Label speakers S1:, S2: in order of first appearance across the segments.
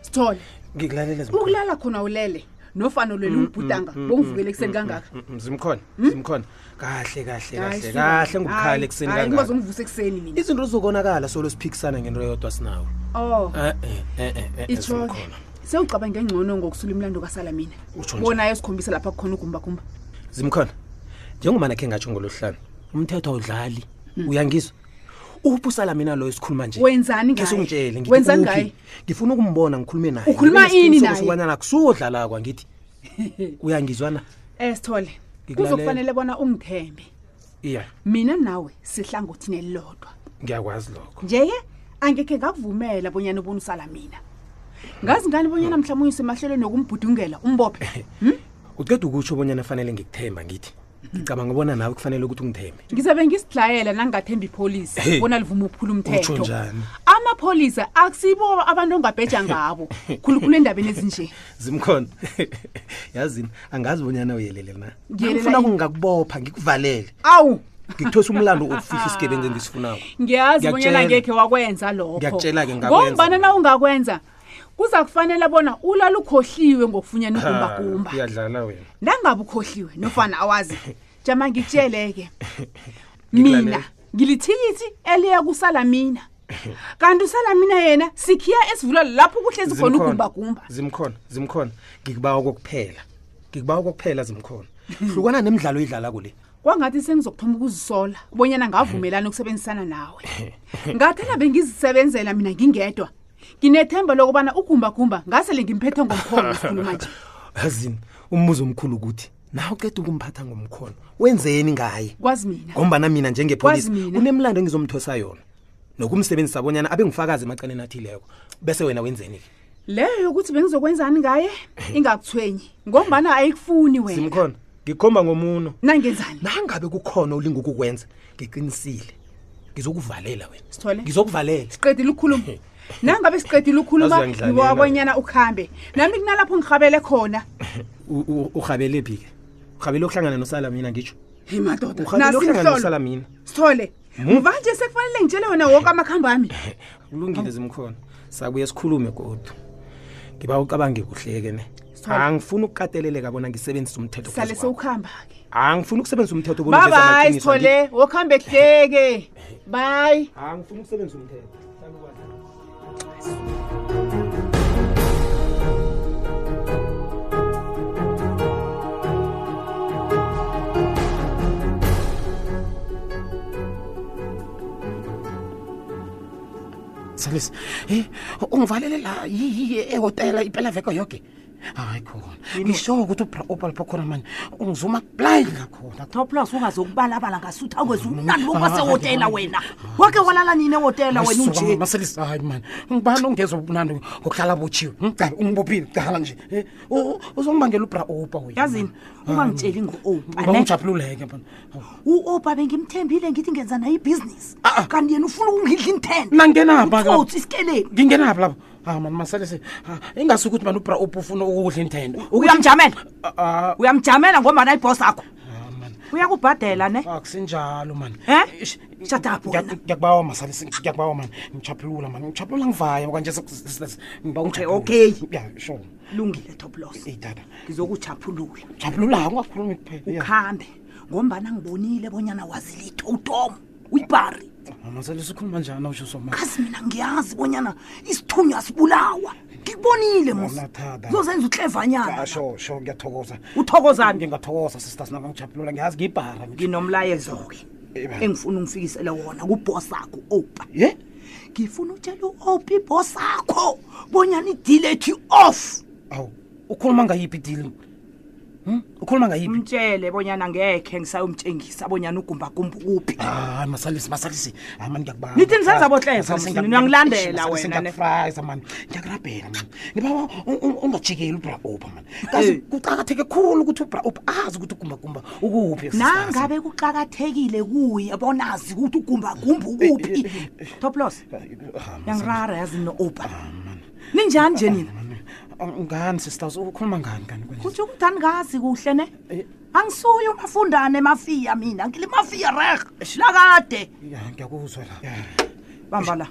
S1: sithole
S2: ngikulalela Zimkhulu.
S1: ukulala khona ulele nofana ulwele umbhudanga bongivukele ekuseni kangaka Hmm?
S2: Mm, mm, zimkhona zimkhona kahle kahle kahle kahle ngubukhali ekuseni kangaka
S1: ngibazomuvusa ekuseni mina
S2: izinto zizokonakala solo siphikisana ngento yodwa sinawe
S1: oh
S2: Eh, eh, eh, eh, eh,
S1: itsho-ke
S2: Zimkhona.
S1: sewucabanga ngengcono ngokusula imlando kasalamina
S2: Utsho njani?
S1: bonayo sikhombisa lapha kukhona ugumbagumba
S2: zimkhona njengoba nakhe ngatsho ngolohlanu umthetho awudlali
S1: Hmm.
S2: uyangizwa uphi usalamina loyo sikhuluma nje
S1: Wenzani ngaye?
S2: ngesungitshele
S1: Wenzani ngaye?
S2: ngifuna ukumbona ngikhulume naye
S1: Ukhuluma
S2: Ngibe
S1: ini
S2: nesiqiniseko
S1: naye?
S2: sokobanyana akusudlalakwa ngithi uyangizwa na
S1: um sithole
S2: Ngikulalela.
S1: kuzokufanele bona ungithembe
S2: iya
S1: mina nawe sihlangothini elilodwa
S2: ngiyakwazi lokho
S1: nje-ke angekhe ngakuvumela bonyana ubona usalamina ngazi ngani
S2: Mm.
S1: bonyana mhlawumbe uyisemahlelweni yokumbhudungela umbophe
S2: uceda ukutsho obonyana fanele ngikuthemba ngithi ngicabanga ubona nawe kufanele ukuthi ungithembe
S1: ngizabe ngisihlayela nangingathemba ipholisa
S2: Hey.
S1: bona livuma ukuphula umthetho
S2: Utsho njani?
S1: amapholisa akusibo abantu ongabheja ngabo khulukhulu endabeni ezinje
S2: zimkhona yazini angazi bonyana uyelele na
S1: Ngiyelela
S2: ngifuna
S1: ini?
S2: kungakubopha ngikuvalele
S1: awu
S2: ngikuthose umlando okufihla isigebenzi engisifunawo
S1: ngiyazi bonyana
S2: Ngiyakutjela.
S1: ngekhe wakwenza lokho
S2: Ngiyakutjela-ke ngakwenza.
S1: ngombana na ungakwenza kuza kufanele bona ulala ukhohliwe ngokufunyana ugumbagumba
S2: uyadlala wena
S1: nangabe ukhohliwe nofana awazi jama ngitsheleke
S2: Ngikulalele.
S1: mina ngilithikithi eliya kusalamina kanti usalamina yena sikhiya esivulwa lapho kuhlezi khona
S2: Zimkhona,
S1: ugumbagumba
S2: zimkhona zimkhona ngikubawa kokuphela ngikubawa kokuphela zimkhona hlukana nemidlalo oyidlala kule
S1: kwangathi sengizokuthoma ukuzisola ubonyana ngavumelani ukusebenzisana nawe ngathana bengizisebenzela mina ngingedwa nginethemba lokubana ugumbagumba ngasele ngimphethe ngomkhono sikhuluma nje
S2: yazini umbuzo omkhulu ukuthi nawe uceda ukumphatha ngomkhono wenzeni ngaye
S1: kwazi mina
S2: ngombana mina njengepholisa
S1: Kwazi mina.
S2: kunemlando engizomthosa yona nokumsebenzisa abonyana abe ngifakazi emacaneni athileko bese wena wenzeni-ke
S1: leyo yokuthi bengizokwenzani ngaye ingakuthwenyi ngombana ayikufuni wena
S2: zimkhona ngikhomba ngomuno
S1: nangenzani
S2: nangabe kukhona olinga ukukwenza ngiqinisile ngizokuvalela wena
S1: Sithole.
S2: ngizokuvalela
S1: siqedile ukukhuluma nangabe siqedile ukukhuluma
S2: Yazi uyangidlalela
S1: ngiwabonyana ukuhambe nami kunalapho ngihabele khona
S2: U- u- urhabele phi-ke urhabele ukuhlangana nosalamina ngitsho
S1: Hey, madoda
S2: urhabele ukuhlangana
S1: nasimhlolo
S2: nosalamina
S1: sithole mvanje sekufanele ngitshele wena woke amakhambo ami Ah.
S2: kulungile zimkhona sakuye sikhulume godu ngiba ucabange kuhleke ne
S1: Sithole.
S2: angifuni ukukateleleka bona ngisebenzise umthetho
S1: sale
S2: phezu kwakho.
S1: sewukuhamba-ke
S2: angifuni ukusebenzisa umthetho bona uveze
S1: babayi
S2: amaqiniso, ngithi-
S1: sithole wokuhambe kuhleke bayi
S2: angifuni ukusebenzisa umthetho Sakukwazana.
S3: salisa
S2: eh,
S3: e ungivalele la ehotela impela veko yoke
S2: Ah,
S3: hayi khona ngisho ukuthi upalipho khona manje ungizuma blind ngakhona
S4: toplos ungazokubalabala ngasuthi awezi umnani bokwasehotela wena wake walala nini ehotela wena unje
S3: maselisa hayi mani ngibani ongezwa ubunandi ngokuhlala botshiwe mcabe ungibophile cala nje Eh, u- uzongibangela ubra opa wena
S4: yazini ungangitsheli ngo-opa ne
S3: ungijabululeke mani
S4: u-opa bengimthembile ngithi ngenza naye ibhizinisi
S3: Ah, ah.
S4: kanti yena ufuna ukungidla intenda
S3: nangenapha
S4: Utsotsi isikeleni.
S3: ngingenapha lapho ha mani maselisa ingase Ah, ukuthi mani ubra opa ufuna ukudla intendo
S4: uyamjamela
S3: Ah,
S4: uyamjamela ngombana ibhos akho
S3: ah, mani
S4: uyakubhadela ne
S3: akusinjalo mani
S4: Eh?
S3: Ish,
S4: Shut up wena.
S3: ngiya- ngiyakubawa masalisi ngiyakubawa mani ngichaphulula mani ngichaphulula ngivaya kwanje
S4: Okay, okay.
S3: ya sure
S4: lungile toplos
S3: eyi tata
S4: ngizokuchaphulula
S3: ngichaphulula ungakhulumi kuphela
S4: ukhambe ngombana ngibonile bonyana wazilitho utom uyibhari
S3: masalisi ukhuluma njani awushiso ma
S4: kazi mina ngiyazi bonyana isithunywa sibulawa ngikubonile mos
S3: Ngiyakuthanda.
S4: uyozenza uhlevanyana
S3: Ah, sure sure ngiyathokoza
S4: uthokozani
S3: ngingathokoza sisters nangangichaphulula ngiyazi ngiyibhara mina.
S4: nginomlayezo-ke
S3: Eba.
S4: engifuna ungifikisele wona kubhos akho opa
S3: ye
S4: ngifuna utshela u-opa ibhos akho bonyana idilethi off
S3: awu ukhuluma ngayiphi idili ukhuluma ngayiphi
S4: mtshele bonyana ngekhe ngisayomtshengisa bonyana ugumbagumba kuphi
S3: hayi masalisi masalisi hayi mani ngiyakubaa
S4: Nithi nisenza botleva, msini, uyangilandela wena, ne.
S3: ngiyakufraza mani ngiyakurabhela mani ngiba ungajikeli ubra opa mani kazi
S4: Eh.
S3: kuqakatheke khulu ukuthi ubra opa azi ukuthi ugumbagumba ukuphi
S4: nangabe kuqakathekile kuye bonazi ukuthi ugumbagumba ukuphi toplos
S3: Ah,
S4: yangirara yazi no-opa
S2: Ah.
S4: ninjani nje nina
S3: Ah, ngani sisters ukhuluma ngani kani kanje
S4: kutsho ukuthi angazi kuhle ne angisuye umafundane emafiya mina ngilimafiya reg lakade
S3: ya ngiyakuzwa la
S4: bamba la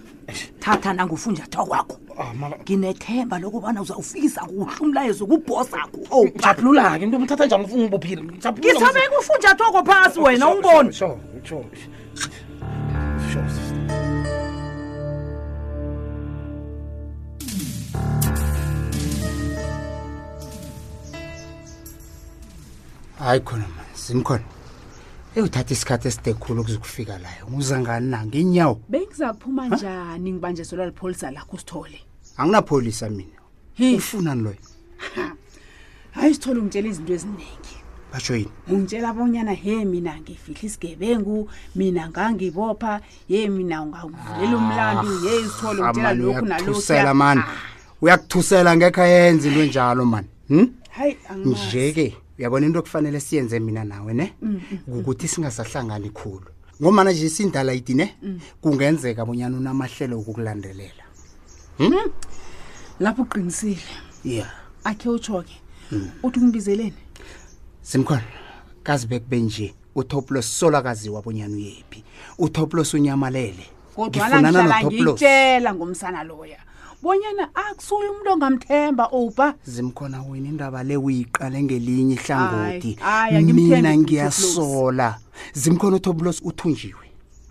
S4: thatha nangufunjatha kwakho
S5: Ah, mara-
S6: nginethemba lokubana uzawufikisa kuhle umlayezo kubhosi akho opa
S5: japhulula-ke into umthatha njani ufuna ungibophile
S6: ngisabeka ufunjathoko phasi wena umbone
S2: hayi khona ma zimkhona eyuthatha isikhathi eside khulu ukuzokufika layo uza ngani na ngeenyawo
S1: bengizakuphuma njani ngibanjezelwa lipholisa lakho usithole
S2: anginapholisa mina
S1: Hi.
S2: ufunani loyo
S1: hayi sithole ungitshela izinto eziningi
S2: batsho yini
S1: ungitshela bonyana he mina ngifihla isigebengu mina ngangibopha ye mina ungavulela umlandu ye isithole ungitshela lokhu
S2: Ah,
S1: Ah.
S2: uyakuthusela mani uyakuthusela ngekho ayenza into enjalo mani hm?
S1: hayi angimazi
S2: nje-ke uyabona into ekufanele siyenze mina nawe ne
S1: Mm,
S2: kukuthi singasahlangani khulu ngomana nje sindala yiti ne
S1: Mm.
S2: kungenzeka bonyana unamahlelo okukulandelela
S1: lapho uqinisile
S2: ya
S1: akhe utsho-ke
S2: Hmm.
S1: uthi ungibizeleni
S2: simkhona kazi bekube nje utoplos solakaziwa bonyana uyephi utoplos unyamalele
S1: kodwana
S2: Ngifunana
S1: ngihlala
S2: noToplos.
S1: ngitshela ngomsana loya bonyana akusuye umuntu ongamthemba ubha
S2: zimkhona wena indaba le uyiqale ngelinye ihlangothi
S1: Ayi, ayi, angimthembi
S2: mina
S1: uToplos.
S2: ngiyasola zimkhona utoplos uthunjiwe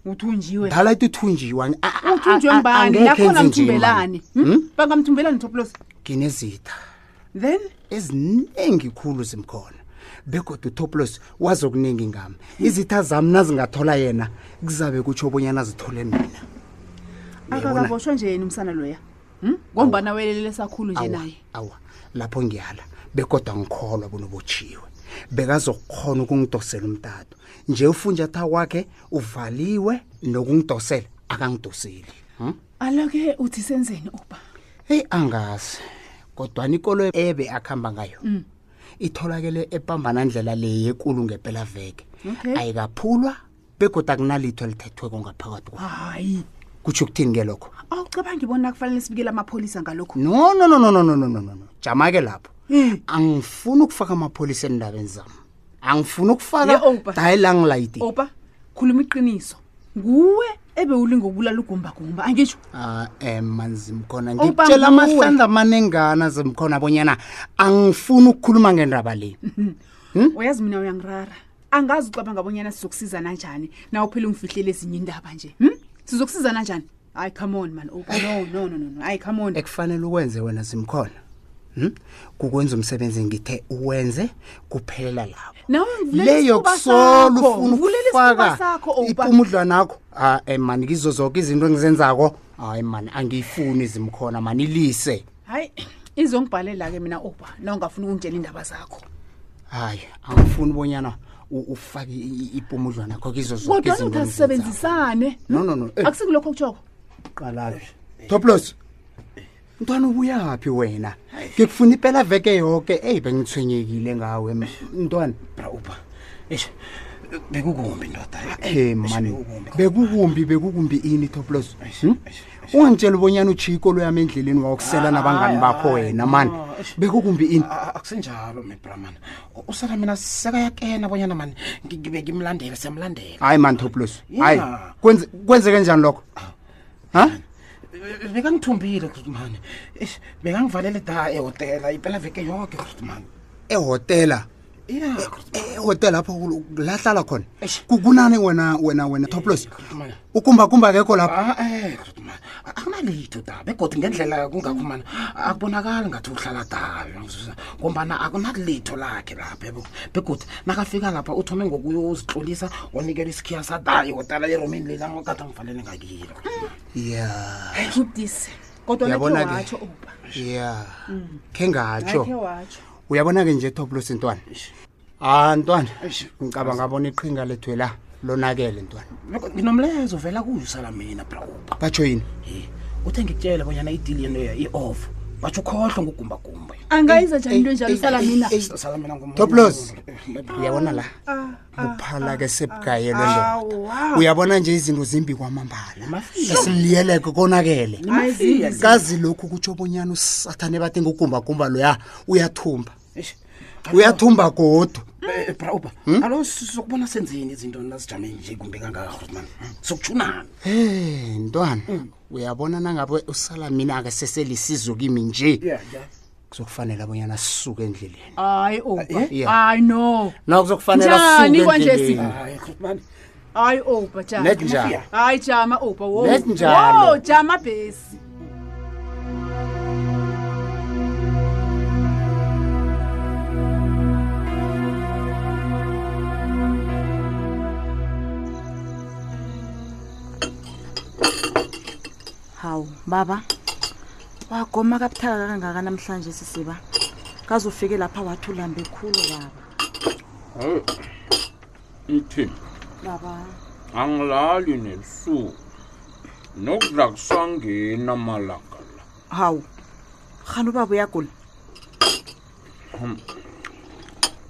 S1: uthunjiwe
S2: dala ithi uthunjiwa a- a- a-
S1: uthunjwe ngubani
S2: angekhe
S1: nakhona
S2: enze nje, Hmm? man.
S1: mthumbelani bangamthumbelani toplos
S2: nginezitha
S1: then
S2: eziningi khulu zimkhona begodwa utoplos wazi okuningi ngami izitha zami nazingathola yena kuzabe kutsho obonyana zithole mina Uyabona?
S1: akakaboshwa nje yena umsana loya Hmm? ngombana welelele sakhulu nje
S2: awa
S1: naye
S2: awa lapho ngiyala bekodwa ngikholwa kunobotshiwe bekazokukhona ukungidosela umtato nje ufunjatha kwakhe uvaliwe nokungidosela akangidoseli hm?
S1: alo-ke uthi senzeni uba
S2: heyi angazi kodwana ikolo ebe akuhamba ngayo itholakele epambanandlela le yekulu ngepelaveke
S1: Okay.
S2: ayikaphulwa begoda akunalitho elithethweko ngaphakathi kwayo
S1: hayi
S2: kutsho ukuthini ke lokho
S1: awucabangi bona kufanele sibikele amapholisa ngalokhu
S2: no no no no no no no no no no jama ke lapho
S1: Hmm.
S2: angifuni ukufaka amapholisa endabeni zami angifuni
S1: Le
S2: ukufaka
S1: Opa.
S2: dayilangilayiti
S1: opa khuluma iqiniso nguwe ebewulinga ukubulala ugumbagumba angitsho
S2: ah um manzimkhona
S1: Opa,
S2: ngikutshela
S1: nguwe.
S2: amahlandla amanengana zimkhona abonyana angifuni ukukhuluma ngendaba le
S1: uyazi mina uyangirara angazi ucabanga bonyana sizokusiza nanjani na uphela ungifihlele ezinye indaba nje hmm? sizokusiza nanjani hayi come on man opa no no no no, no hayi come on
S2: ekufanele uwenze wena zimkhona hm? kukwenza umsebenzi ngithe uwenze kuphelela lapho
S1: nawe ngivulela
S2: le
S1: isifuba sakho,
S2: yokusola ufuna
S1: ngivulela isifuba
S2: ukufaka
S1: sakho opa
S2: ipumudlwa nakho hayi mani kizo zonke izinto engizenzako hayi mani angiyifuni zimkhona mani ilise
S1: hayi izongibhalela-ke mina opa na ungafuni ukungitshela iindaba zakho
S2: hayi angifuni ubonyana u- ufake i- i- ipumudlwa nakho kizo zonke
S1: kodwana
S2: izinto
S1: uthi
S2: engizenzako.
S1: asisebenzisane
S2: no no no Eh,
S1: akusikulokho okutshoko
S2: qalaphi toplos mntwana ubuyaphi wena ngikufuna ipela veke yonke eyi bengithwenyekile ngawe m- mntwana
S5: braupa eish bekukumbi ndoda
S2: e mani bekukumbi bekukumbi ini toplos
S5: Eish,
S2: Hmm?
S5: eish, eish.
S2: ungangitshela ubonyana utshiya ikolo yami endleleni wawokusela nabangani
S5: Hayi,
S2: bakho
S5: hayi,
S2: wena mani
S5: no, eish.
S2: bekukumbi ini
S5: akusenjalo mebramana usala mina sekayakena bonyana mani ngi- ngibe ngimlandele siyamlandela
S2: hayi mani toplos
S5: Yeah.
S2: hayi kwenze- kwenzeke njani lokho ha
S5: Eh, bekangithumbile mani eish bekangivalele da ehotela ipelaveke yoke mani
S2: ehotela
S5: ya
S2: ehotela apho kul- lahlala khona
S5: Eish. Eh.
S2: Ku- kunani wena wena wena toplos
S5: mani
S2: ukumbakumba kekho lapho
S5: ae man Ah, eh, akunalitho da begodi ngendlela kungakho mani akubonakali ngathi uhlala dayo ngombana akunalitho lakhe lapha yabo begodi nakafika lapha uthome ngokuyozitlolisa wanikela isikhiya sadayo odala eromini lelangokade ngifanele ngakile
S2: ya
S1: ubudisi kodwa nakhe
S2: Uyabona-ke?
S1: watsho opa
S2: ya
S5: Mm.
S2: khe
S1: akhe
S2: ngatsho
S1: watsho
S2: uyabona-ke nje toplos ntwana ah ntwana
S5: Eish.
S2: ngicabanga bona iqhinga lethu la lonakele ntwana
S5: nginomlezo vela kuyusala mina brauba
S2: batsho yini
S5: uthe ngikutshele bonyana idili yenoya i-off batsho ukhohlwe ngugumbagumba
S1: angayiza njani into enjalo
S2: Ey,
S1: isala
S2: ey,
S1: mina
S2: ey,
S5: sala mina ngum-
S2: toplos uyabona la
S1: Ah,
S2: buphala-ke sebugayelwe ndoda uyabona nje izinto zimbi kwamambala
S5: Mafiya.
S2: esiliyeleke konakele
S1: Hayi,
S5: Mafiya le.
S2: kazi lokhu kutsho bonyana usathane bathi ngugumbagumba loya uyathumba
S5: Eish.
S2: uyathumba godu
S5: Eh, brauba alo sokubona senzeni izinto nazijame nje kumbe kangaka Hmm, man sokutshunani
S2: Hey ntwana
S1: Mm.
S2: uyabona nangabe usala mina akaseselisizo kimi nje kuzokufanele abonyana sisuke endleleni
S1: hayi opa
S2: eh. Yeah.
S1: hayi no
S2: na kuzokufanele
S1: Njani
S2: sisuke
S1: kwanje
S2: endleleni
S1: si?
S5: hayi man
S1: hayi opa jama
S2: net njani
S1: hayi jama opa wo
S2: Net njalo.
S1: Wo, jama bhesi
S6: hawu baba wagoma kabuthaka kangaka namhlanje sisiba kazufike lapha wathi ulambe khulu baba
S7: hayi ithini
S6: baba
S7: angilali nebusuku nokudla kusangena malanga la
S6: hawu rhani ubaba uyagula
S7: Hmm.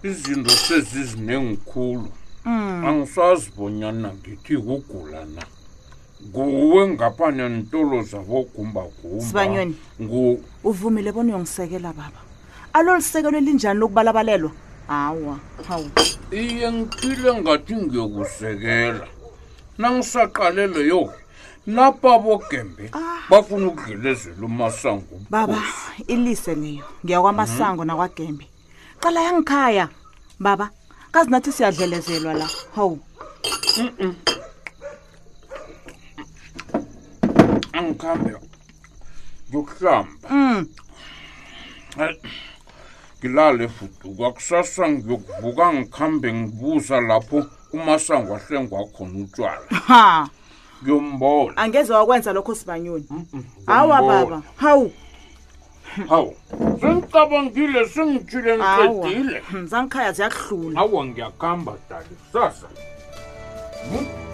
S7: izinto sezizinengikhulu
S6: Hmm.
S7: angisazibonyana ngithi kugula na kuwe ngapha nentolo zabogumbagumba
S6: Sibanyoni.
S7: Ngu-
S6: uvumile bona uyongisekela baba alolu sekelo linjani lokubalabalelwa hawa hawu
S7: iye ngiphile ngathi ngiyokusekela nangisaqalele yo napa bogembe bafuna ukudlelezela umasango
S6: baba ilise leyo ngiyakwamasango nakwagembe qala yangikhaya baba kazi nathi siyadlelezelwa la hawu
S7: angikhambe ngiyokuhlamba Eh, ngilale futhi kwakusasa ngiyokuvuka ngikhambe ngibuza lapho umasango ahlengwa khona utshwala
S6: ha
S7: ngiyombona
S6: angeze wakwenza lokho sibanyoni hawa
S7: ngiyambona.
S6: baba hawu
S7: hawu sengicabangile sengitshile
S6: hawa
S7: ngiqedile
S6: zangikhaya ziyakuhlula
S7: hawa ngiyakuhamba dali kusasa Hmm?